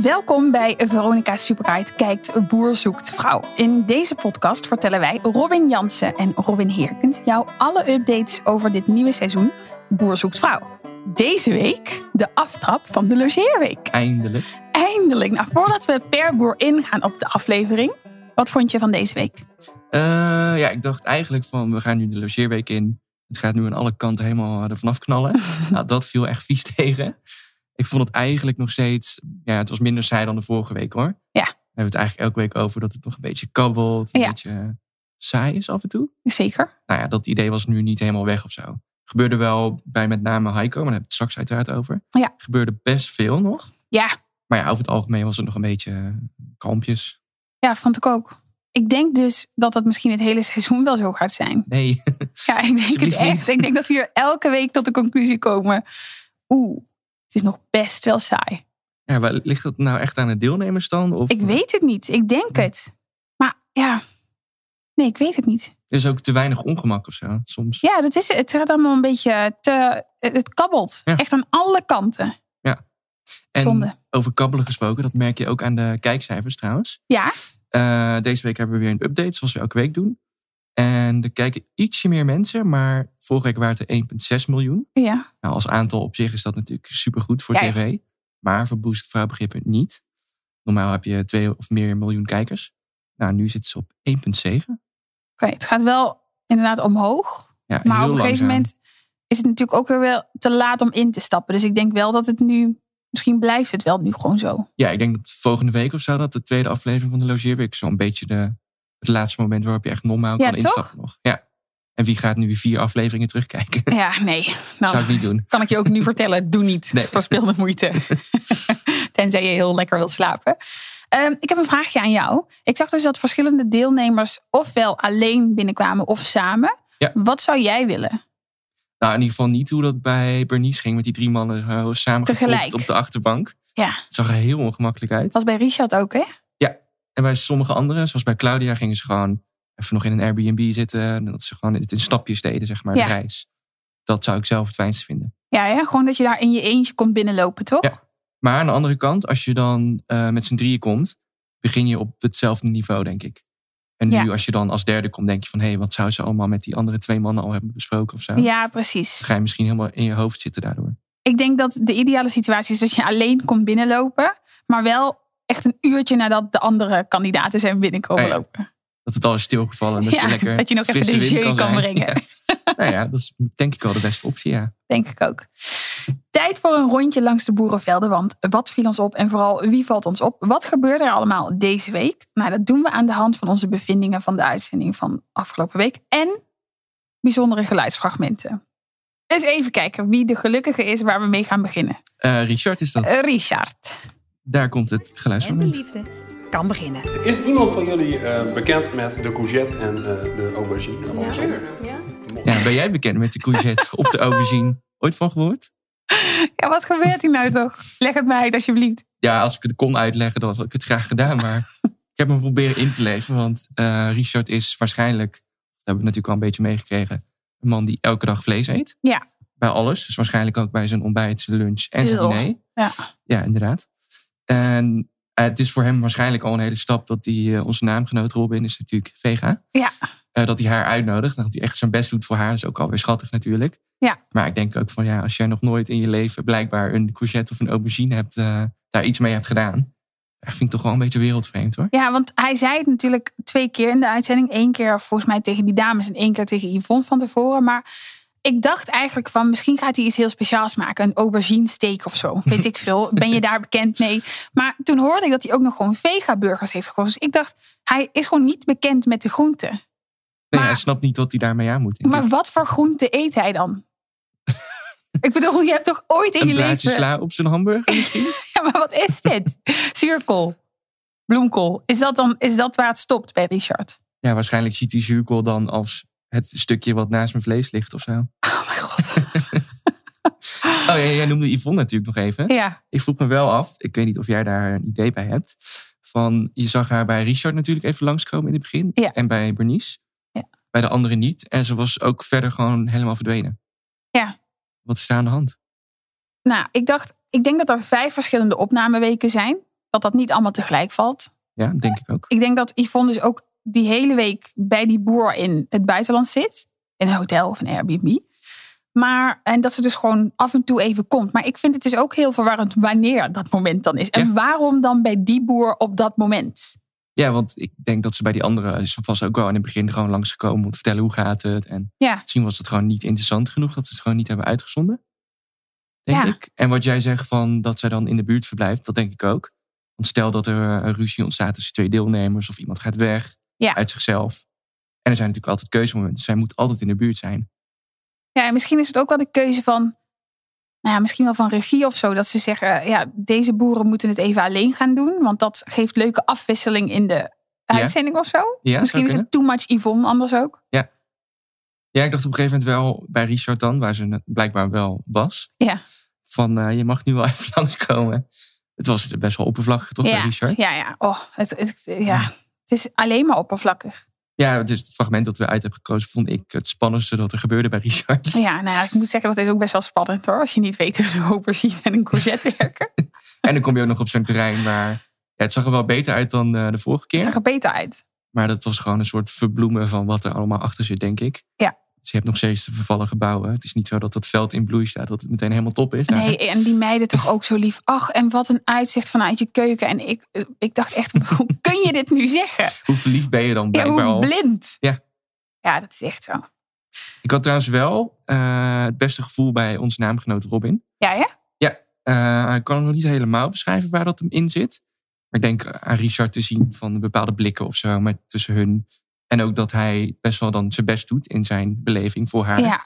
Welkom bij Veronica Superguide Kijkt Boer Zoekt Vrouw. In deze podcast vertellen wij Robin Jansen en Robin Heerkens jou alle updates over dit nieuwe seizoen Boer Zoekt Vrouw. Deze week de aftrap van de logeerweek. Eindelijk. Eindelijk! Nou, voordat we per boer ingaan op de aflevering, wat vond je van deze week? Eh, ja, ik dacht eigenlijk van, we gaan nu de logeerweek in. Het gaat nu aan alle kanten helemaal eh, er vanaf knallen. nou, dat viel echt vies tegen. Ik vond het eigenlijk nog steeds... Ja, het was minder saai dan de vorige week, hoor. Ja. We hebben het eigenlijk elke week over dat het nog een beetje kabbelt. Een Ja. beetje eh, saai is af en toe. Zeker. Nou ja, dat idee was nu niet helemaal weg of zo. Gebeurde wel bij met name Heiko, maar daar heb ik het straks uiteraard over. Ja. Gebeurde best veel nog. Ja. Maar ja, over het algemeen was het nog een beetje eh, kalmpjes. Ja, vond ik ook. Ik denk dus dat dat misschien het hele seizoen wel zo gaat zijn. Nee, Ja, ik denk het Alsjeblieft echt. niet. Ik denk dat we hier elke week tot de conclusie komen. Oeh, het is nog best wel saai. Ja, waar- ligt dat nou echt aan het deelnemers dan? Of Ik weet het niet. Ik denk het. Maar ja, nee, ik weet het niet. Er is ook te weinig ongemak of zo soms. Ja, dat is het. Het gaat allemaal een beetje te... Het kabbelt. Ja. Echt aan alle kanten. en Zonde. over kabbelen gesproken, dat merk je ook aan de kijkcijfers trouwens. Ja, Eh, deze week hebben we weer een update, zoals we elke week doen. En er kijken ietsje meer mensen, maar vorige week waren het er 1,6 miljoen. ja. Nou, als aantal op zich is dat natuurlijk supergoed voor Ja, ja. tv. Maar voor Boost Vrouwbegrippen niet. Normaal heb je 2 of meer miljoen kijkers. Nou, nu zitten ze op 1,7. Oké, het gaat wel inderdaad omhoog. Ja, Maar op heel een gegeven langzaam. moment is het natuurlijk ook weer wel te laat om in te stappen. Dus ik denk wel dat het nu... Misschien blijft het wel nu gewoon zo. Ja, ik denk dat volgende week of zo dat de tweede aflevering van de Logeerweek zo'n beetje de, het laatste moment waarop je echt normaal Ja, kan toch? instappen nog. Ja. En wie gaat nu vier afleveringen terugkijken? Ja, nee. Nou, Zou ik niet doen. kan ik je ook nu vertellen, doe niet. Nee. Verspil de moeite. Tenzij je heel lekker wilt slapen. Ehm, ik heb een vraagje aan jou. Ik zag dus dat verschillende deelnemers ofwel alleen binnenkwamen of samen. Ja. Wat zou jij willen? Nou, in ieder geval niet hoe dat bij Bernice ging met die drie mannen eh, zo Tegelijk. samengeklopt op de achterbank. Ja. Het zag er heel ongemakkelijk uit. Was bij Richard ook, hè? En bij sommige anderen, zoals bij Claudia, gingen ze gewoon even nog in een Airbnb zitten. En dat ze gewoon het in stapjes deden, zeg maar, Ja. de reis. Dat zou ik zelf het fijnst vinden. Ja, ja, gewoon dat je daar in je eentje komt binnenlopen, toch? Ja. Maar aan de andere kant, als je dan eh, met z'n drieën komt, begin je op hetzelfde niveau, denk ik. En nu, Ja. als je dan als derde komt, denk je van hé, wat zou ze allemaal met die andere twee mannen al hebben besproken of zo? Ja, Dan precies. ga je misschien helemaal in je hoofd zitten daardoor. Ik denk dat de ideale situatie is dat je alleen komt binnenlopen, maar wel echt een uurtje nadat de andere kandidaten zijn binnenkomen Oh Ja, ja. lopen. Dat het al is stilgevallen. Dat Ja, je lekker dat je nog even frisse de wind jeu kan zijn. brengen. Ja. Nou ja, dat is denk ik wel de beste optie, ja. Denk ik ook. Tijd voor een rondje langs de boerenvelden. Want wat viel ons op en vooral wie valt ons op? Wat gebeurde er allemaal deze week? Nou, dat doen we aan de hand van onze bevindingen van de uitzending van afgelopen week. En bijzondere geluidsfragmenten. Dus even kijken wie de gelukkige is waar we mee gaan beginnen. Eh, Richard is dat. Eh, Richard. Daar komt het En de geluidsmoment. liefde kan beginnen. Is iemand van jullie eh, bekend met de courgette en eh, de aubergine? Ja, Ja, ben jij bekend met de courgette of de aubergine? Ooit van gehoord? Ja, wat gebeurt hier nou toch? Leg het mij uit alsjeblieft. ja, als ik het kon uitleggen, dan had ik het graag gedaan. Maar ik heb hem proberen in te leven. Want eh, Richard is waarschijnlijk, dat hebben we natuurlijk al een beetje meegekregen, een man die elke dag vlees eet. Ja. Bij alles. Dus waarschijnlijk ook bij zijn ontbijt, zijn lunch en zijn Eeuw. diner. Ja. Ja, inderdaad. En eh, het is voor hem waarschijnlijk al een hele stap dat hij, eh, onze naamgenoot Robin is natuurlijk vega. Ja. Eh, dat hij haar uitnodigt. Dat hij echt zijn best doet voor haar. Is ook alweer schattig natuurlijk. Ja. Maar ik denk ook van ja, als jij nog nooit in je leven blijkbaar een courgette of een aubergine hebt, eh, daar iets mee hebt gedaan. Dat vind ik toch wel een beetje wereldvreemd hoor. Ja, want hij zei het natuurlijk twee keer in de uitzending. Eén keer volgens mij tegen die dames en één keer tegen Yvonne van tevoren. Maar ik dacht eigenlijk van misschien gaat hij iets heel speciaals maken. Een aubergine steak of zo. Weet ik veel. Ben je daar bekend mee? Maar toen hoorde ik dat hij ook nog gewoon vega burgers heeft gekozen. Dus ik dacht, hij is gewoon niet bekend met de groenten. Nee, Maar- hij snapt niet wat hij daarmee aan moet. denk Maar ik. wat voor groente eet hij dan? ik bedoel, je hebt toch ooit in een je blaadje leven... sla op zijn hamburger misschien? Ja, maar wat is dit? zuurkool, bloemkool. Is dat, dan, is dat waar het stopt bij Richard? Ja, waarschijnlijk ziet hij zuurkool dan als het stukje wat naast mijn vlees ligt of zo. Oh Oh mijn god. ja, jij noemde Yvonne natuurlijk nog even. Ja, Ik vroeg me wel af, ik weet niet of jij daar een idee bij hebt. Van, je zag haar bij Richard natuurlijk even langskomen in het begin. Ja. En bij Bernice. Ja. Bij de anderen niet. En ze was ook verder gewoon helemaal verdwenen. Ja. Wat is daar aan de hand? nou, ik dacht, ik denk dat er vijf verschillende opnameweken zijn. Dat dat niet allemaal tegelijk valt. Ja, denk ik ook. Ik denk dat Yvonne dus ook die hele week bij die boer in het buitenland zit. In een hotel of een Airbnb. Maar, en dat ze dus gewoon af en toe even komt. Maar ik vind het dus ook heel verwarrend wanneer dat moment dan is. En Ja. waarom dan bij die boer op dat moment? Ja, want ik denk dat ze bij die anderen is vast ook wel in het begin gewoon langsgekomen om te vertellen hoe gaat het. En Ja. misschien was het gewoon niet interessant genoeg dat ze het gewoon niet hebben uitgezonden. Denk Ja. ik. En wat jij zegt van dat zij dan in de buurt verblijft, dat denk ik ook. Want stel dat er eh, een ruzie ontstaat tussen twee deelnemers of iemand gaat weg Ja. uit zichzelf. En er zijn natuurlijk altijd keuzemomenten. Zij moet altijd in de buurt zijn. Ja, en misschien is het ook wel de keuze van, nou ja, misschien wel van regie of zo. Dat ze zeggen, eh, ja, deze boeren moeten het even alleen gaan doen. Want dat geeft leuke afwisseling in de Ja. uitzending of zo. Ja, misschien zou is kunnen. het too much Yvonne anders ook. Ja, ik dacht op een gegeven moment wel bij Richard dan, waar ze blijkbaar wel was. Ja. Van eh, je mag nu wel even langskomen. Het was best wel oppervlakkig toch bij ja, Richard? ja, ja. Oh, het, het, ja. het is alleen maar oppervlakkig. Ja, het is het fragment dat we uit hebben gekozen, vond ik het spannendste dat er gebeurde bij Richard. Ja, nou ja, ik moet zeggen, dat is ook best wel spannend hoor. Als je niet weet hoe ze aubergine en een courgette werken. En dan kom je ook nog op zo'n terrein waar. Ja, het zag er wel beter uit dan eh, de vorige Het keer. zag er beter uit. Maar dat was gewoon een soort verbloemen van wat er allemaal achter zit, denk ik. Ja. Dus je hebt nog steeds de vervallen gebouwen. Het is niet zo dat dat veld in bloei staat, dat het meteen helemaal top is. daar. Nee, en die meiden toch ook zo lief. Ach, en wat een uitzicht vanuit je keuken. En ik, eh, ik dacht echt, hoe kun je dit nu zeggen? Hoe verliefd ben je dan Ja, blijkbaar hoe al? blind. Ja. Ja, dat is echt zo. Ik had trouwens wel eh, het beste gevoel bij onze naamgenoot Robin. Ja, hè? Eh, ik kan hem nog niet helemaal beschrijven waar dat hem in zit. Maar ik denk aan Richard te zien van bepaalde blikken of zo maar tussen hun. En ook dat hij best wel dan zijn best doet in zijn beleving voor haar. Ja.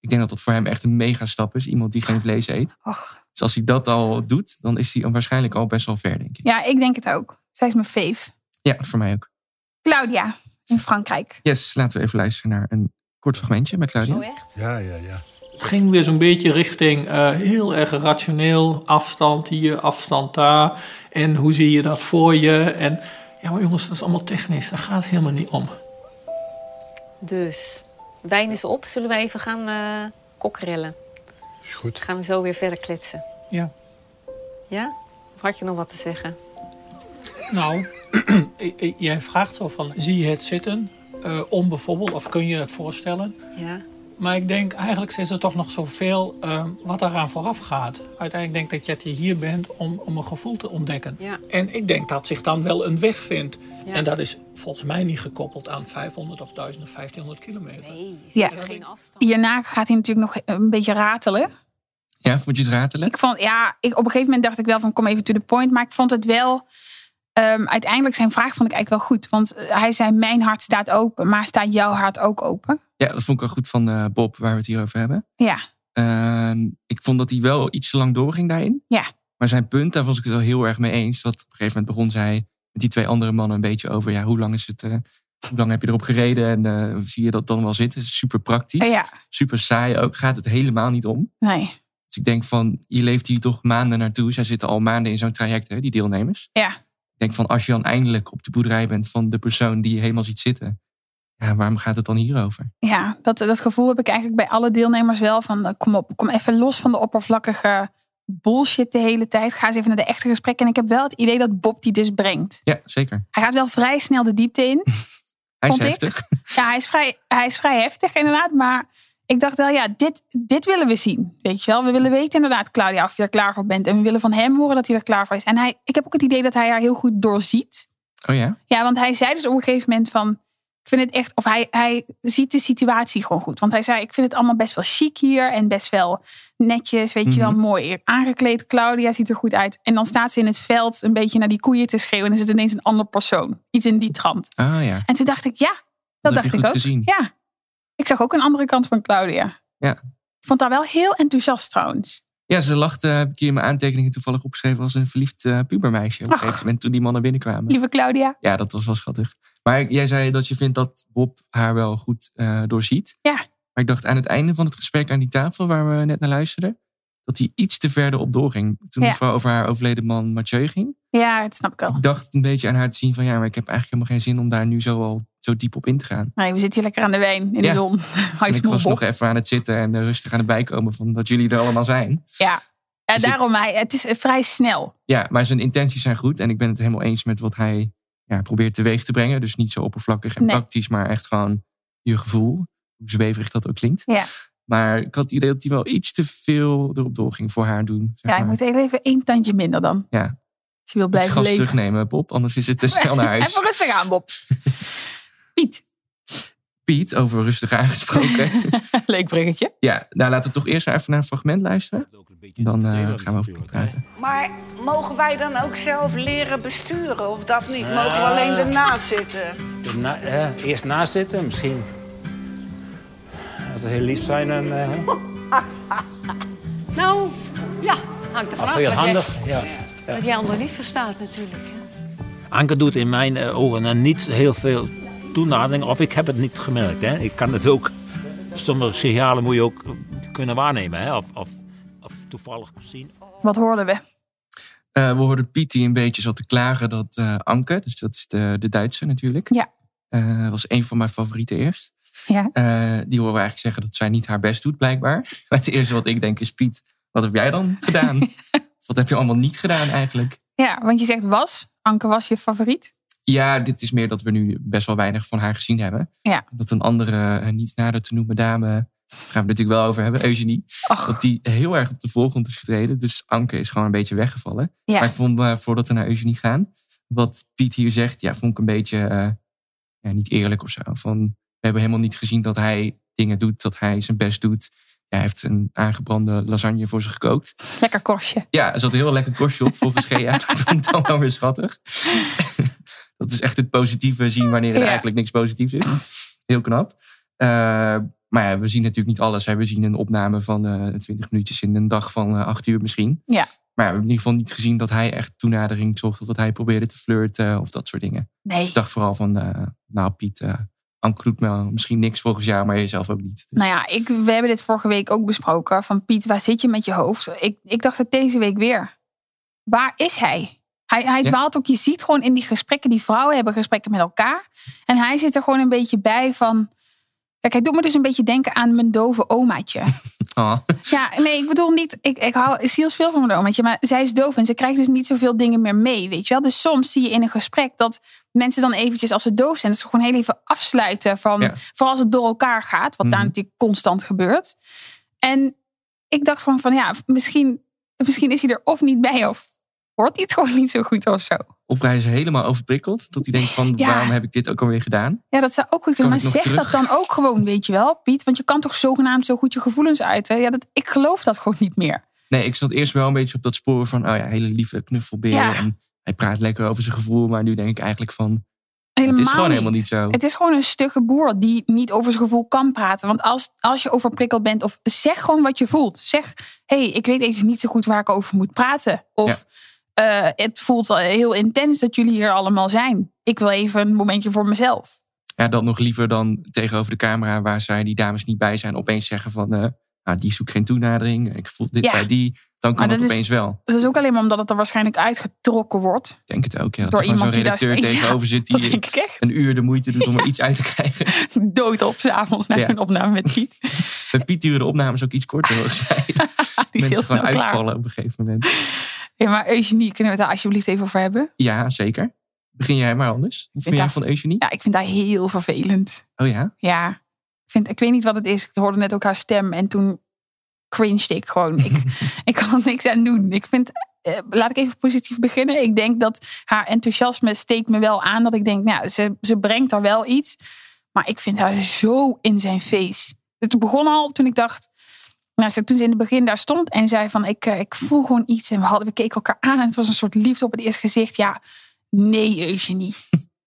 Ik denk dat dat voor hem echt een mega stap is. Iemand die geen vlees eet. Och. Dus als hij dat al doet, dan is hij al waarschijnlijk al best wel ver, denk ik. ja, ik denk het ook. Zij is mijn fave. Ja, voor mij ook. Claudia in Frankrijk. Yes, laten we even luisteren naar een kort fragmentje met Claudia. echt? Ja, ja, ja. Het ging weer zo'n beetje richting eh, heel erg rationeel. Afstand hier, afstand daar. En hoe zie je dat voor je? En ja, maar jongens, dat is allemaal technisch. Daar gaat het helemaal niet om. Dus, wijn is op. Zullen we even gaan eh kokrellen? Is goed. Gaan we zo weer verder kletsen? Ja. Ja? Of had je nog wat te zeggen? Nou, i- i- jij vraagt zo van, zie je het zitten? Eh om bijvoorbeeld, of kun je het voorstellen? Ja. Maar ik denk, eigenlijk is er toch nog zoveel eh, wat daaraan vooraf gaat. Uiteindelijk denk ik dat je hier bent om, om een gevoel te ontdekken. Ja. En ik denk dat zich dan wel een weg vindt. Ja. En dat is volgens mij niet gekoppeld aan 500 of 1000 of 1500 kilometer. Nee, Ja. geen afstand. Hierna gaat hij natuurlijk nog een beetje ratelen. Ja, vond je het ratelen? Ik vond, ja, ik, op een gegeven moment dacht ik wel van kom even to the point. Maar ik vond het wel, ehm, uiteindelijk zijn vraag vond ik eigenlijk wel goed. Want eh, hij zei mijn hart staat open, maar staat jouw hart ook open? Ja, dat vond ik wel goed van eh, Bob, waar we het hier over hebben. Ja, Ehm, ik vond dat hij wel iets te lang doorging daarin. Ja. Maar zijn punt, daar was ik het wel heel erg mee eens. Dat op een gegeven moment begon zij met die twee andere mannen een beetje over... ja, hoe lang is het... eh, hoe lang heb je erop gereden en eh, zie je dat dan wel zitten? Super praktisch, Eh, ja, super saai ook. Gaat het helemaal niet om. nee. Dus ik denk van, je leeft hier toch maanden naartoe. Zij zitten al maanden in zo'n traject, hè, die deelnemers. Ja. Ik denk van, als je dan eindelijk op de boerderij bent van de persoon die je helemaal ziet zitten. Ja, waarom gaat het dan hierover? Ja, dat, dat gevoel heb ik eigenlijk bij alle deelnemers wel. Van eh, kom op, kom even los van de oppervlakkige bullshit de hele tijd. Ga eens even naar de echte gesprekken. En ik heb wel het idee dat Bob die dus brengt. Ja, zeker. Hij gaat wel vrij snel de diepte in. Hij Vond is ik. heftig. Ja, hij is vrij, hij is vrij heftig inderdaad. Maar ik dacht wel, ja, dit, dit willen we zien. Weet je wel, we willen weten inderdaad, Claudia, of je er klaar voor bent. En we willen van hem horen dat hij er klaar voor is. En hij, ik heb ook het idee dat hij haar heel goed doorziet. Oh ja? Ja, want hij zei dus op een gegeven moment van... Ik vind het echt... Of hij, hij ziet de situatie gewoon goed. Want hij zei, ik vind het allemaal best wel chic hier. En best wel netjes, weet je wel, Mhm. mooi aangekleed. Claudia ziet er goed uit. En dan staat ze in het veld een beetje naar die koeien te schreeuwen. En is het ineens een ander persoon. Iets in die trant. Ah ja. En toen dacht ik, ja, dat, Dat heb dacht je ik goed ook. gezien. Ja, ik zag ook een andere kant van Claudia. Ja. Ik vond haar wel heel enthousiast trouwens. Ja, ze lachte, heb ik hier in mijn aantekeningen toevallig opgeschreven, als een verliefd eh, pubermeisje. Op een Ach. gegeven moment toen die mannen binnenkwamen. Lieve Claudia. Ja, dat was wel schattig. Maar jij zei dat je vindt dat Bob haar wel goed eh, doorziet. Ja. Maar ik dacht aan het einde van het gesprek aan die tafel waar we net naar luisterden, dat hij iets te verder op doorging. Toen Ja. Oh. de vrouw over haar overleden man Mathieu ging. Ja, dat snap ik al. Ik dacht een beetje aan haar te zien van ja, maar ik heb eigenlijk helemaal geen zin om daar nu zo al zo diep op in te gaan. Nee, we zitten hier lekker aan de wijn in Ja. de zon. Hou je En ik smoel, was Bob. nog even aan het zitten en eh, rustig aan het bijkomen van dat jullie er allemaal zijn. Ja, ja Dus ik- daarom. Hij, het is eh, vrij snel. Ja, maar zijn intenties zijn goed en ik ben het helemaal eens met wat hij ja, probeert teweeg te brengen. Dus niet zo oppervlakkig en Nee. praktisch, maar echt gewoon je gevoel. Hoe zweverig dat ook klinkt. Ja. Maar ik had het idee dat hij wel iets te veel erop doorging voor haar doen. Zeg Ja, je maar. moet even één tandje minder dan. Ja. Als je wil het blijven gas leven. terugnemen, Bob, anders is het te snel naar huis. Even rustig aan, Bob. Piet, Piet, over rustig aangesproken. leuk bruggetje. ja, nou laten we toch eerst even naar een fragment luisteren. Dan eh, gaan we over Piet praten. Maar mogen wij dan ook zelf leren besturen of dat niet? Mogen we alleen ernaast zitten? Ah. Na, hè, eerst naast zitten, misschien. Als ze heel lief zijn en eh, Nou, ja, hangt of er vanaf. heel wat jij- handig. Ja. Wat jij onder lief verstaat natuurlijk. hè. Anke doet in mijn eh, ogen eh, niet heel veel toenadering, of ik heb het niet gemerkt. Hè. Ik kan het ook. Sommige signalen moet je ook eh, kunnen waarnemen, hè. Of, of, of toevallig zien. Wat hoorden we? Eh, we hoorden Piet die een beetje zat te klagen dat eh, Anke, dus dat is de, de Duitse natuurlijk. Ja. eh, was een van mijn favorieten eerst. Ja. Eh, die horen we eigenlijk zeggen dat zij niet haar best doet, blijkbaar. Maar het eerste wat ik denk is, Piet, wat heb jij dan gedaan? Of wat heb je allemaal niet gedaan eigenlijk? Ja, want je zegt was. Anke was je favoriet. Ja, dit is meer dat we nu best wel weinig van haar gezien hebben. Ja. Dat een andere, eh, niet nader te noemen dame, daar gaan we het natuurlijk wel over hebben, Eugenie. Och, Dat die heel erg op de voorgrond is getreden. Dus Anke is gewoon een beetje weggevallen. ja. Maar ik vond, eh, voordat we naar Eugenie gaan, wat Piet hier zegt, ja, vond ik een beetje eh, ja, niet eerlijk of zo. Van, we hebben helemaal niet gezien dat hij dingen doet, dat hij zijn best doet. Ja, hij heeft een aangebrande lasagne voor ze gekookt. lekker korstje. Ja, er zat een heel lekker korstje op volgens Gea. Dat vond ik dan wel weer schattig. dat is echt het positieve zien wanneer er Ja. eigenlijk niks positiefs is. Heel knap. Eh, maar ja, we zien natuurlijk niet alles. Hè. We zien een opname van eh 20 minuutjes in een dag van eh 8 uur misschien. Ja. Maar ja, we hebben in ieder geval niet gezien dat hij echt toenadering zocht. Of dat hij probeerde te flirten eh, of dat soort dingen. Nee. Ik dacht vooral van, eh, nou Piet, eh Anke doet me misschien niks volgens jou, maar jezelf ook niet. Dus Nou ja, ik, we hebben dit vorige week ook besproken. Van Piet, waar zit je met je hoofd? Ik, ik dacht het deze week weer. Waar is hij? Hij, hij Ja. dwaalt ook. Je ziet gewoon in die gesprekken, die vrouwen hebben gesprekken met elkaar. En hij zit er gewoon een beetje bij van... Kijk, hij doet me dus een beetje denken aan mijn dove omaatje. ah, Ja, nee, ik bedoel niet. Ik, ik hou zielsveel van mijn omaatje, maar zij is doof en ze krijgt dus niet zoveel dingen meer mee, weet je wel. Dus soms zie je in een gesprek dat mensen dan eventjes, als ze doof zijn, dat ze gewoon heel even afsluiten van, Ja. vooral als het door elkaar gaat, wat daar Mhm. natuurlijk constant gebeurt. En ik dacht gewoon van, ja, misschien, misschien is hij er of niet bij of hoort hij het gewoon niet zo goed of zo. opreizen helemaal overprikkeld. Dat hij denkt van, Ja. waarom heb ik dit ook alweer gedaan? Ja, dat zou ook goed Kan kunnen. Maar ik nog zeg dat terug? dan ook gewoon, weet je wel, Piet. Want je kan toch zogenaamd zo goed je gevoelens uiten. Ja, dat, ik geloof dat gewoon niet meer. Nee, ik zat eerst wel een beetje op dat spoor van, oh ja, hele lieve knuffelbeer. Ja. En hij praat lekker over zijn gevoel, maar nu denk ik eigenlijk van, Helemaal het is gewoon helemaal niet zo. Het is gewoon een stukke boer die niet over zijn gevoel kan praten. Want als, als je overprikkeld bent, of zeg gewoon wat je voelt. Zeg, hé, hey, ik weet even niet zo goed waar ik over moet praten. Of eh, het voelt al heel intens dat jullie hier allemaal zijn. Ik wil even een momentje voor mezelf. Ja, dat nog liever dan tegenover de camera waar zij die dames niet bij zijn, opeens zeggen van, eh, nou, die zoekt geen toenadering, ik voel dit Ja. bij die. Dan kan Maar het dat is- opeens wel. Dat is ook alleen maar omdat het er waarschijnlijk uitgetrokken wordt. Ik denk het ook, ja. Dat Door er gewoon zo'n iemand die daar redacteur staat. Ja, tegenover zit Dat die denk ik echt. een uur de moeite doet om er iets uit te krijgen. Dood op s'avonds na Ja. zo'n opname met Piet. Bij Piet duren de opnames ook iets korter. volgens mij. Die is heel Mensen snel gewoon klaar. uitvallen op een gegeven moment. Ja, maar Eugenie, kunnen we het daar alsjeblieft even over hebben? Ja, zeker. Begin jij maar anders. Wat vind jij daar- van Eugenie? Ja, ik vind dat heel vervelend. Oh ja? Ja, ik, vind, ik weet niet wat het is. Ik hoorde net ook haar stem en toen cringed ik gewoon. Ik, ik kan er niks aan doen. Ik vind, eh, laat ik even positief beginnen. Ik denk dat haar enthousiasme steekt me wel aan. Dat ik denk, nou, ze, ze brengt daar wel iets. Maar ik vind haar zo in zijn face. Het begon al toen ik dacht... Nou, ze- toen ze in het begin daar stond en zei van... Ik, eh, ik voel gewoon iets en we, hadden, we keken elkaar aan... en het was een soort liefde op het eerste gezicht. Ja, nee Eugenie.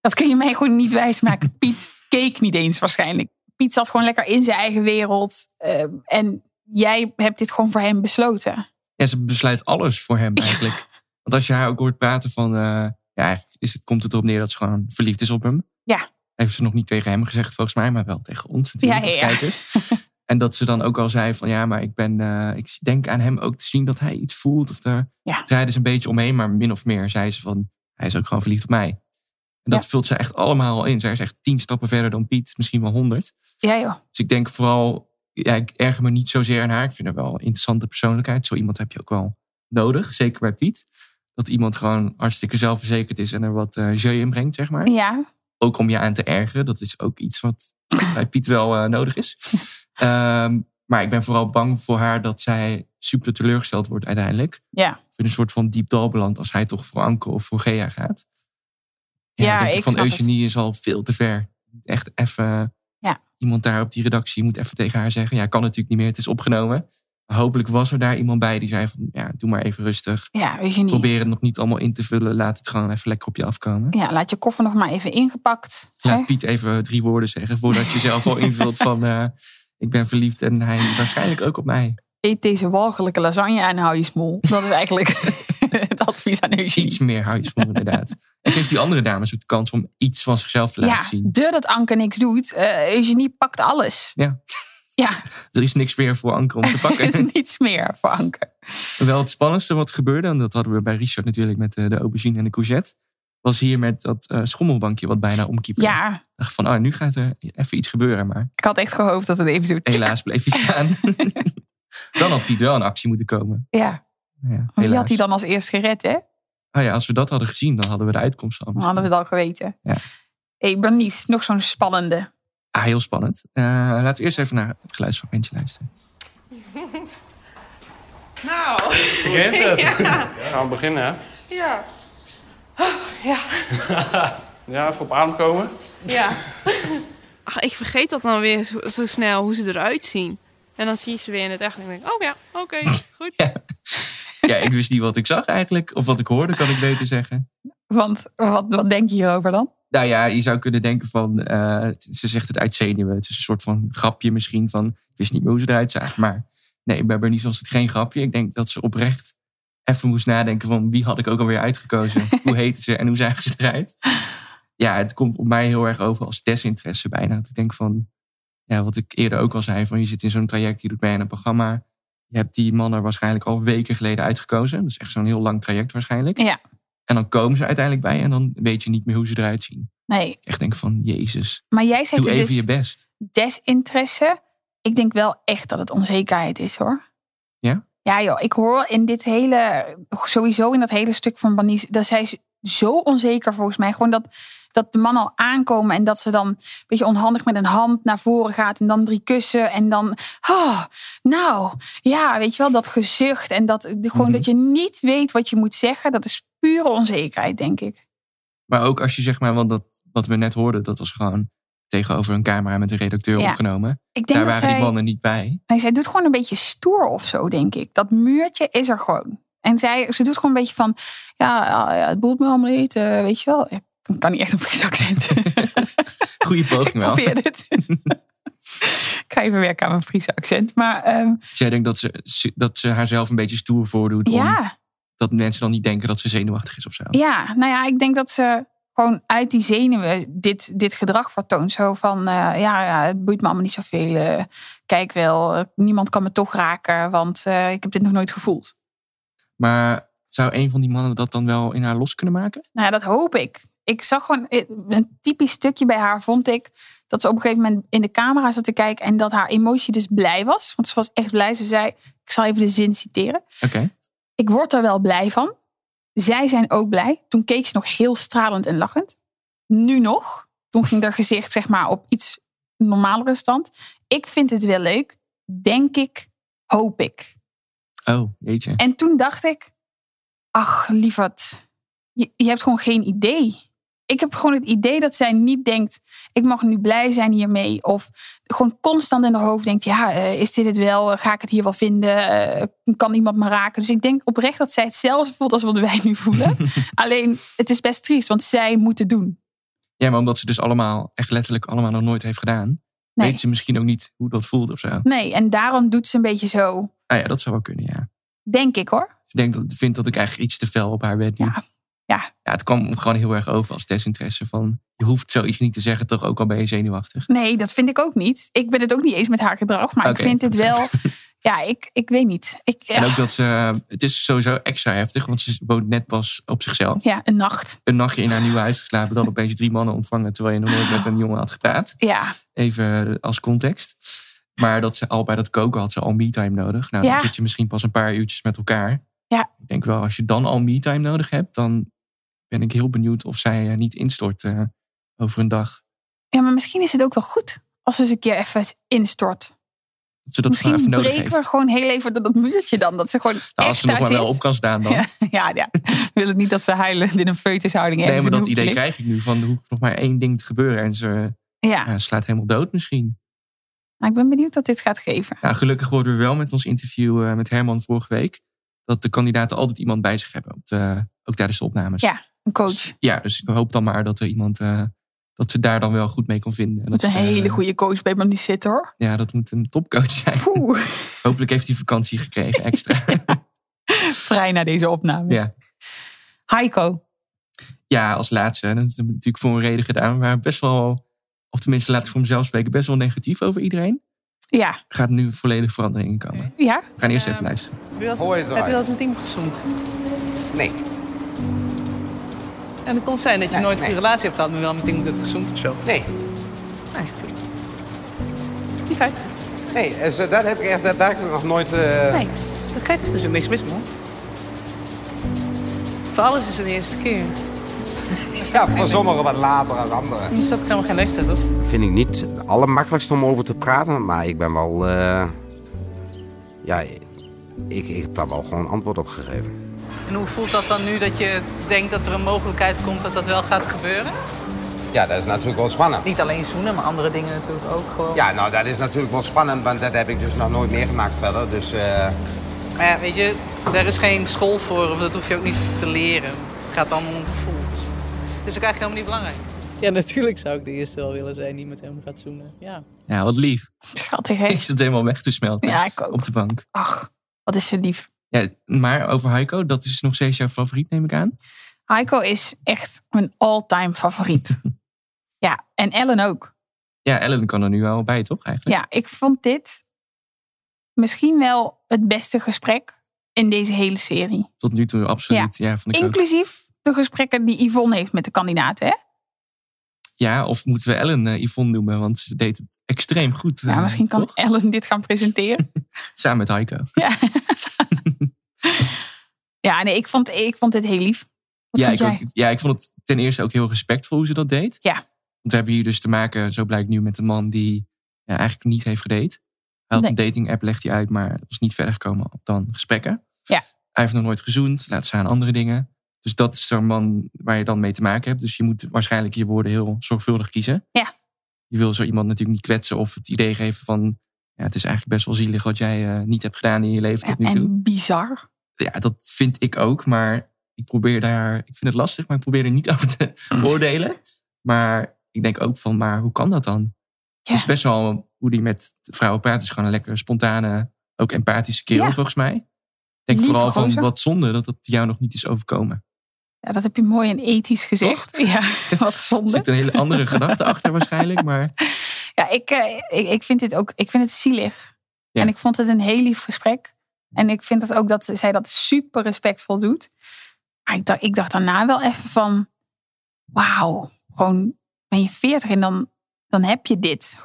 Dat kun je mij gewoon niet wijsmaken. Piet keek niet eens waarschijnlijk. Piet zat gewoon lekker in zijn eigen wereld. eh, en jij hebt dit gewoon voor hem besloten. ja, ze besluit alles voor hem eigenlijk. Want als je haar ook hoort praten van... eh, ja, eigenlijk is het, komt het erop neer dat ze gewoon verliefd is op hem. Ja. Heeft ze nog niet tegen hem gezegd volgens mij, maar wel tegen ons natuurlijk Ja, ja, als ja. kijkers. En dat ze dan ook al zei van ja, maar ik ben, eh, ik denk aan hem ook te zien dat hij iets voelt. Of daar Ja. draaide ze een beetje omheen, maar min of meer zei ze van hij is ook gewoon verliefd op mij. En dat vult ze echt allemaal al in. Zij is echt tien stappen verder dan Piet, misschien wel honderd. Ja joh. Dus ik denk vooral, ja, ik erger me niet zozeer aan haar. Ik vind haar wel een interessante persoonlijkheid. Zo iemand heb je ook wel nodig, zeker bij Piet. Dat iemand gewoon hartstikke zelfverzekerd is en er wat eh jeu in brengt, zeg maar. Ja. Ook om je aan te ergeren. Dat is ook iets wat bij Piet wel eh, nodig is. Ehm, maar ik ben vooral bang voor haar dat zij super teleurgesteld wordt uiteindelijk. Ja. Of in een soort van diep dal belandt als hij toch voor Anke of voor Gea gaat. Ja, Ja, dan denk ik ik van snap het. Eugenie is al veel te ver. Echt even. Ja. Iemand daar op die redactie moet even tegen haar zeggen. Ja, kan natuurlijk niet meer. Het is opgenomen. Maar hopelijk was er daar iemand bij die zei van ja, doe maar even rustig. Ja, Eugenie. Probeer het nog niet allemaal in te vullen. Laat het gewoon even lekker op je afkomen. Ja, laat je koffer nog maar even ingepakt. hè? Laat Piet even drie woorden zeggen voordat je zelf al invult van eh, ik ben verliefd en hij waarschijnlijk ook op mij. Eet deze walgelijke lasagne en hou je smoel. Dat is eigenlijk het advies aan Eugenie. Iets meer huisvorm inderdaad. En geeft die andere dames ook de kans om iets van zichzelf te laten ja, zien. de dat Anke niks doet. eh, Eugenie pakt alles. Ja. Ja, Er is niks meer voor Anker om te er is pakken. niets meer voor Anke. Wel het spannendste wat gebeurde, en dat hadden we bij Richard natuurlijk met eh, de, de aubergine en de courgette, was hier met dat eh, schommelbankje wat bijna omkiepte. Ik Ja, dacht van, oh, nu gaat er even iets gebeuren, maar ik had echt gehoopt dat het even zo... helaas bleef hij staan. dan had Piet wel in actie moeten komen. Ja, Nou Ja, want Oh, die had helaas. hij dan als eerst gered, hè? Oh ja, als we dat hadden gezien, dan hadden we de uitkomst al. Dan hadden we het al geweten. Ja. hey, Bernice, nog zo'n spannende. Ah, heel spannend. Eh, laten we eerst even naar het geluidsfragmentje luisteren. Gaan we beginnen, hè? Ja, Ja, even op adem komen. Ja. Ach, ik vergeet dat dan weer zo, zo snel, hoe ze eruit zien. En dan zie je ze weer in het echt en ik denk, oh ja, oké, goed. Ja, ik wist niet wat ik zag eigenlijk. Of wat ik hoorde, kan ik beter zeggen. Want wat, wat denk je hierover dan? Nou ja, je zou kunnen denken van... eh, ze zegt het uit zenuwen. Het is een soort van grapje misschien van... Ik wist niet meer hoe ze eruit zagen. Maar nee, bij Bernice was het geen grapje. Ik denk dat ze oprecht even moest nadenken van... Wie had ik ook alweer uitgekozen? Hoe heten ze en hoe zagen ze eruit? Ja, het komt op mij heel erg over als desinteresse bijna. Dat ik denk van... Ja, wat ik eerder ook al zei. Van je zit in zo'n traject, je doet mee aan een programma. Je hebt die man er waarschijnlijk al weken geleden uitgekozen. Dus echt zo'n heel lang traject waarschijnlijk. Ja. En dan komen ze uiteindelijk bij en dan weet je niet meer hoe ze eruit zien Nee, echt denk van, jezus, maar jij zegt doe het even dus je best. desinteresse. Ik denk wel echt dat het onzekerheid is, hoor. Ja? Ja, joh. Ik hoor in dit hele, sowieso in dat hele stuk van Bernice, dat zij is zo onzeker volgens mij. Gewoon dat, dat de man al aankomen en dat ze dan een beetje onhandig met een hand naar voren gaat en dan drie kussen en dan, oh, nou, ja, weet je wel, dat gezucht en dat, de- gewoon Mhm. dat je niet weet wat je moet zeggen, dat is pure onzekerheid, denk ik. Maar ook als je zeg maar, want dat, wat we net hoorden, dat was gewoon tegenover een camera met een redacteur Ja. opgenomen. Ik denk Daar dat waren zij... die mannen niet bij. Nee, zij doet gewoon een beetje stoer of zo, denk ik. Dat muurtje is er gewoon. En zij, ze doet gewoon een beetje van... Ja, ja, ja, het boelt me allemaal niet, eh, weet je wel. Ja, ik kan niet echt een Fries accent. Goeie ik poging wel. probeer dit. ik ga even werken aan mijn Friese accent. Maar ehm, Dus jij denkt dat ze, dat ze haarzelf een beetje stoer voordoet. Om, ja, dat mensen dan niet denken dat ze zenuwachtig is of zo. ja, nou ja, ik denk dat ze gewoon uit die zenuwen dit, dit gedrag vertoont. Zo van, eh, ja, ja, het boeit me allemaal niet zoveel. eh, kijk wel, eh, niemand kan me toch raken, want eh, ik heb dit nog nooit gevoeld. Maar zou een van die mannen dat dan wel in haar los kunnen maken? Nou, ja, dat hoop ik. Ik zag gewoon eh, een typisch stukje bij haar, vond ik. Dat ze op een gegeven moment in de camera zat te kijken. En dat haar emotie dus blij was. Want ze was echt blij. Ze zei, ik zal even de zin citeren. Oké, Ik word er wel blij van. Zij zijn ook blij. Toen keek ze nog heel stralend en lachend. Nu nog. Toen ging haar gezicht zeg maar op iets normalere stand. Ik vind het wel leuk. Denk ik. Hoop ik. oh, jeetje. En toen dacht ik, ach lieverd, je, je hebt gewoon geen idee. Ik heb gewoon het idee dat zij niet denkt, ik mag nu blij zijn hiermee. Of gewoon constant in haar hoofd denkt, ja, eh, is dit het wel? Ga ik het hier wel vinden? Eh, kan iemand me raken? Dus ik denk oprecht dat zij hetzelfde voelt als wat wij nu voelen. Alleen, het is best triest, want zij moet het doen. Ja, maar omdat ze dus allemaal, echt letterlijk allemaal nog nooit heeft gedaan, Nee. weet ze misschien ook niet hoe dat voelt of zo. Nee, en daarom doet ze een beetje zo. Ah ja, dat zou wel kunnen, ja. Denk ik hoor. Ze denkt dat, vindt dat ik eigenlijk iets te fel op haar ben nu. Ja. Ja. het kwam gewoon heel erg over als desinteresse. Van, je hoeft zoiets niet te zeggen, toch ook al ben je zenuwachtig. Nee, dat vind ik ook niet. Ik ben het ook niet eens met haar gedrag. Maar Oké, ik vind dit goed zo. wel. Ja, ik, ik weet niet. Ik, En ja, ook dat ze, het is sowieso extra heftig, want ze woont net pas op zichzelf. ja, een nacht. Een nachtje in haar nieuwe huis geslapen, dan opeens drie mannen ontvangen terwijl je nog nooit met een jongen had gepraat. Ja, Even als context. Maar dat ze al bij dat koken had ze al me-time nodig. Nou, Ja. dan zit je misschien pas een paar uurtjes met elkaar. Ja. Ik denk wel, als je dan al me-time nodig hebt, dan ben ik heel benieuwd of zij eh, niet instort eh, over een dag. ja, maar misschien is het ook wel goed als ze eens een keer even instort. Dat ze dat gewoon misschien even nodig breken heeft. we gewoon heel even door dat muurtje dan. Dat ze gewoon Nou, als echt ze nog daar maar zit. wel op kan staan dan. Ja, ja, ja. We willen niet dat ze huilend in een foetushouding nee, ergens maar in dat een hoek idee ligt. krijg ik nu van er hoeft nog maar één ding te gebeuren en ze Ja, eh, slaat helemaal dood misschien. maar ik ben benieuwd wat dit gaat geven. Nou, gelukkig hoorden we wel met ons interview eh, met Herman vorige week dat de kandidaten altijd iemand bij zich hebben, op de, ook tijdens de opnames. Ja. Een coach. Ja, dus ik hoop dan maar dat er iemand eh, dat ze daar dan wel goed mee kan vinden. En Moet dat een ze, eh, hele goede coach bij me niet zitten hoor. Ja, dat moet een topcoach zijn. Poeh. Hopelijk heeft hij vakantie gekregen extra. Vrij na deze opnames. Ja. Heiko. ja, als laatste. hè, Dat is natuurlijk voor een reden gedaan, maar best wel, of tenminste laat ik voor mezelf spreken, best wel negatief over iedereen. Ja. Gaat nu volledig verandering in komen. Ja. We gaan eerst even luisteren. Heb je wel eens met iemand gezoend? Nee. En het kon zijn dat je Nee, nooit nee. een relatie hebt gehad, maar wel met iemand hebt gezoend of zo? Nee. Nee, goed. Die feit. Nee, eh, zo- dat heb ik echt daadwerkelijk nog nooit... eh, Nee, dat gek. Er is niks mis, man. Voor alles is het de eerste keer. Ja, voor sommigen wat later dan anderen. Nu staat er helemaal geen leeftijd op. Dat vind ik niet het allermakkelijkste om over te praten, maar ik ben wel... eh, ja, ik, ik heb daar wel gewoon antwoord op gegeven. En hoe voelt dat dan nu dat je denkt dat er een mogelijkheid komt dat dat wel gaat gebeuren? Ja, dat is natuurlijk wel spannend. Niet alleen zoenen, maar andere dingen natuurlijk ook gewoon. Ja, nou, dat is natuurlijk wel spannend, want dat heb ik dus nog nooit meegemaakt verder. Dus eh, Maar ja, weet je, daar is geen school voor, of dat hoef je ook niet te leren. Het gaat allemaal om gevoel. Dus dat is ook eigenlijk helemaal niet belangrijk. Ja, natuurlijk zou ik de eerste wel willen zijn die met hem gaat zoenen. Ja. Ja, wat lief. Schattig hè. Ik zit helemaal weg te smelten Ja, ik ook. op de bank. Ach, wat is ze lief. Ja, maar over Heiko, dat is nog steeds jouw favoriet, neem ik aan. Heiko is echt mijn all-time favoriet. ja, en Ellen ook. Ja, Ellen kan er nu wel bij, toch eigenlijk? Ja, ik vond dit misschien wel het beste gesprek in deze hele serie. Tot nu toe absoluut. Ja, vond ik ook. Inclusief de gesprekken die Yvonne heeft met de kandidaten. Hè? ja of moeten we Ellen eh, Yvonne noemen? Want ze deed het extreem goed. Ja, eh, misschien kan toch? Ellen dit gaan presenteren. Samen met Heiko. ja, nee, ik vond, ik vond dit heel lief. Wat ja, vond ik jij? ook- ja, ik vond het ten eerste ook heel respectvol hoe ze dat deed. Ja. Want we hebben hier dus te maken, zo blijkt nu, met een man die ja, eigenlijk niet heeft gedate. Hij had Nee. een dating app, legt hij uit, maar was niet verder gekomen dan gesprekken. Ja. Hij heeft nog nooit gezoend, laat staan andere dingen. Dus dat is zo'n man waar je dan mee te maken hebt. Dus je moet waarschijnlijk je woorden heel zorgvuldig kiezen. Ja. Je wil zo iemand natuurlijk niet kwetsen of het idee geven van... Ja, het is eigenlijk best wel zielig wat jij eh, niet hebt gedaan in je leven tot nu toe En bizar. ja, dat vind ik ook, maar ik probeer daar, ik vind het lastig, maar ik probeer er niet over te oordelen. Maar ik denk ook van, maar hoe kan dat dan? Ja. Het is best wel hoe die met vrouwen praat, is gewoon een lekker spontane, ook empathische kerel Ja. volgens mij. Ik denk Lieve vooral van gozer. wat zonde dat dat jou nog niet is overkomen. Ja, dat heb je mooi en ethisch gezegd. Ja, wat Er zonde. zit een hele andere gedachte achter waarschijnlijk, maar Ja, ik, eh, ik, ik vind dit ook, ik vind het zielig. Ja. En ik vond het een heel lief gesprek. En ik vind het ook dat zij dat super respectvol doet. Maar ik dacht, ik dacht daarna wel even van, wauw, gewoon ben je 40 en dan, dan heb je dit.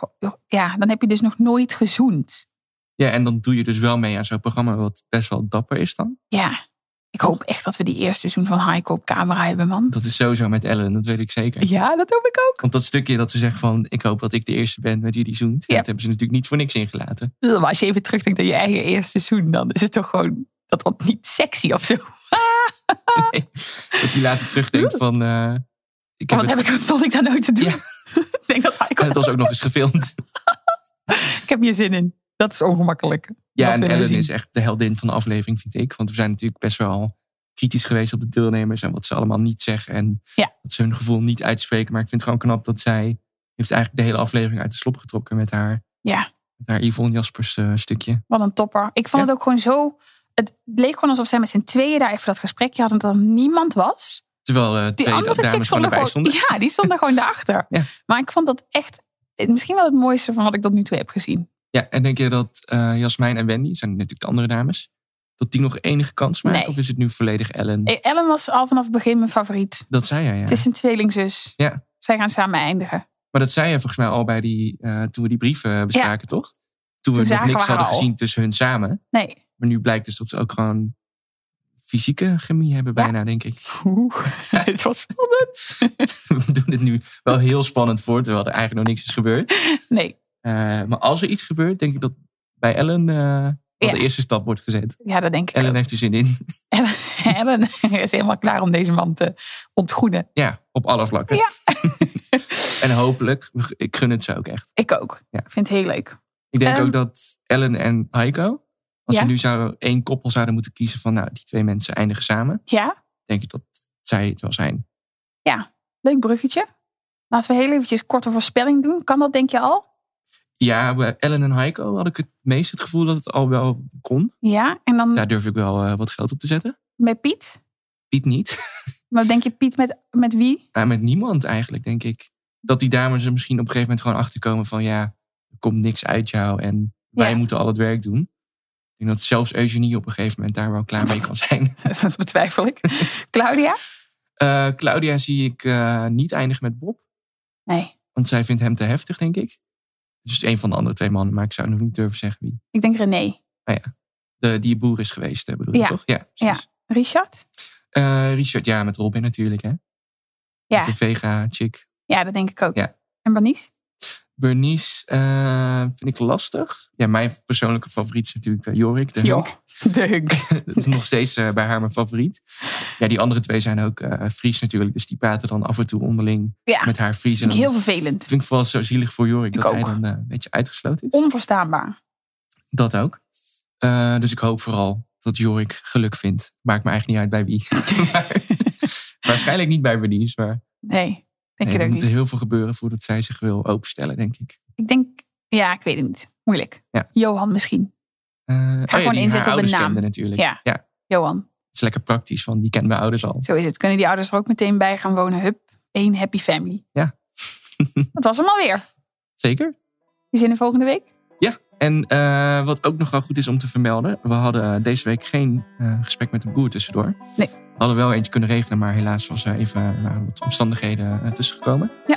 Ja, dan heb je dus nog nooit gezoend. ja, en dan doe je dus wel mee aan zo'n programma wat best wel dapper is dan. Ja, ik hoop echt dat we die eerste seizoen van Heiko op camera hebben, man. Dat is sowieso met Ellen, dat weet ik zeker. Ja, dat hoop ik ook. Want dat stukje dat ze zegt van, ik hoop dat ik de eerste ben met wie die zoent. Ja, Ja. Dat hebben ze natuurlijk niet voor niks ingelaten. Maar als je even terugdenkt aan je eigen eerste seizoen, dan is het toch gewoon dat wat niet sexy of zo. Dat hij later terugdenkt van... eh, ik heb wat het- heb ik, wat stond ik daar nou te doen? Ja. ik denk dat Heiko En het was ook nog eens gefilmd. Ik heb hier zin in. Dat is ongemakkelijk. Ja, Dat en willen we Ellen zien. is echt de heldin van de aflevering, vind ik. Want we zijn natuurlijk best wel kritisch geweest op de deelnemers... en wat ze allemaal niet zeggen en Ja. dat ze hun gevoel niet uitspreken. Maar ik vind het gewoon knap dat zij... heeft eigenlijk de hele aflevering uit de slop getrokken met haar... Ja. Met haar Yvonne Jaspers eh, stukje. Wat een topper. Ik vond Ja. het ook gewoon zo het leek gewoon alsof zij met z'n tweeën daar even dat gesprekje hadden. Dat er niemand was. Terwijl eh Die twee andere chick dames stond gewoon er erbij gewoon, stonden. ja, die stonden gewoon daarachter. Maar ik vond dat echt eh, misschien wel het mooiste van wat ik tot nu toe heb gezien. Ja, en denk je dat eh Jasmijn en Wendy, zijn natuurlijk de andere dames, dat die nog enige kans maken? Nee. Of is het nu volledig Ellen? Eh, Ellen was al vanaf het begin mijn favoriet. Dat zei jij, ja. Het is een tweelingzus. ja. Zij gaan samen eindigen. Maar dat zei je volgens mij al bij die, eh, toen we die brieven bespraken, toch? Toen we Toen nog zagen niks we haar hadden al. gezien tussen hun samen. Nee. Maar nu blijkt dus dat ze ook gewoon fysieke chemie hebben bijna, denk ik. het was spannend. we doen dit nu wel heel spannend voor, terwijl er eigenlijk nog niks is gebeurd. Nee. Eh, maar als er iets gebeurt, denk ik dat bij Ellen eh, wel de Ja. eerste stap wordt gezet. Ja, dat denk ik. Ellen heeft er zin in. Ellen is helemaal klaar om deze man te ontgroenen. Ja, op alle vlakken. en hopelijk, ik gun het ze ook echt. Ik ook. Ja. Ik vind het heel leuk. Ik denk Ehm, ook dat Ellen en Heiko, als Ja. we nu zouden, één koppel zouden moeten kiezen van nou, die twee mensen eindigen samen, Ja, denk ik dat zij het wel zijn. ja. Leuk bruggetje. Laten we heel eventjes korte voorspelling doen. Kan dat denk je al? Ja, bij Ellen en Heiko had ik het meest het gevoel dat het al wel kon. Ja. En dan Daar durf ik wel eh, wat geld op te zetten. met Piet? Piet niet. Maar denk je Piet met, met wie? Nou, met niemand eigenlijk, denk ik. Dat die dames er misschien op een gegeven moment gewoon achterkomen van ja, er komt niks uit jou en wij moeten al het werk doen. Ik denk dat zelfs Eugenie op een gegeven moment daar wel klaar mee kan zijn. dat betwijfel ik. Claudia? Eh, Claudia zie ik eh, niet eindigen met Bob. Nee. Want zij vindt hem te heftig, denk ik. Dus een van de andere twee mannen, maar ik zou nog niet durven zeggen wie. Ik denk René. Nou ja, de, die boer is geweest, hè, bedoel je Ja. toch? Ja. Ja. Richard? Eh, Richard, ja, met Robin natuurlijk, hè? Ja. De Vega-chick. ja, dat denk ik ook. Ja. En Bernice? Bernice eh, vind ik lastig. Ja, mijn persoonlijke favoriet is natuurlijk eh, Jorik. De Jo, Hunk. dat is nog steeds eh, bij haar mijn favoriet. Ja, die andere twee zijn ook eh, Fries natuurlijk. Dus die praten dan af en toe onderling Ja. met haar Fries. Vind ik En dan heel vervelend. vind ik vooral zo zielig voor Jorik Ik dat hij ook. dan eh, een beetje uitgesloten is. Onverstaanbaar. Dat ook. Eh, dus ik hoop vooral dat Jorik geluk vindt. Maakt me eigenlijk niet uit bij wie. Maar- waarschijnlijk niet bij Bernice. Maar Nee, denk nee, je er ook moet niet. heel veel gebeuren voordat zij zich wil openstellen, denk ik. Ik denk, ja, ik weet het niet. Moeilijk. Ja. Johan misschien. Eh, oh ja, Ga gewoon die haar inzetten op een ouders naam. kenden natuurlijk. Ja. Johan. Het is lekker praktisch, want die kennen mijn ouders al. Zo is het. Kunnen die ouders er ook meteen bij gaan wonen? Hup, één happy family. Ja. Dat was hem alweer. Zeker. Die zin in volgende week? Ja, en eh, wat ook nog wel goed is om te vermelden. We hadden eh, deze week geen eh, gesprek met de boer tussendoor. Nee. We hadden wel eentje kunnen regelen, maar helaas was er even eh, waren wat omstandigheden eh, tussengekomen. Ja.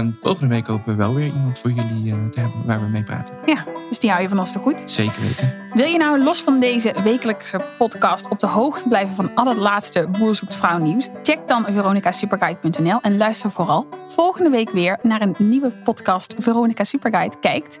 Eh, volgende week hopen we wel weer iemand voor jullie eh, te hebben waar we mee praten. Ja, dus die hou je van ons te goed. Zeker weten. Wil je nou los van deze wekelijkse podcast op de hoogte blijven van al het laatste Boer zoekt vrouw nieuws? Check dan veronicasuperguide.nl en luister vooral volgende week weer naar een nieuwe podcast Veronica Superguide kijkt.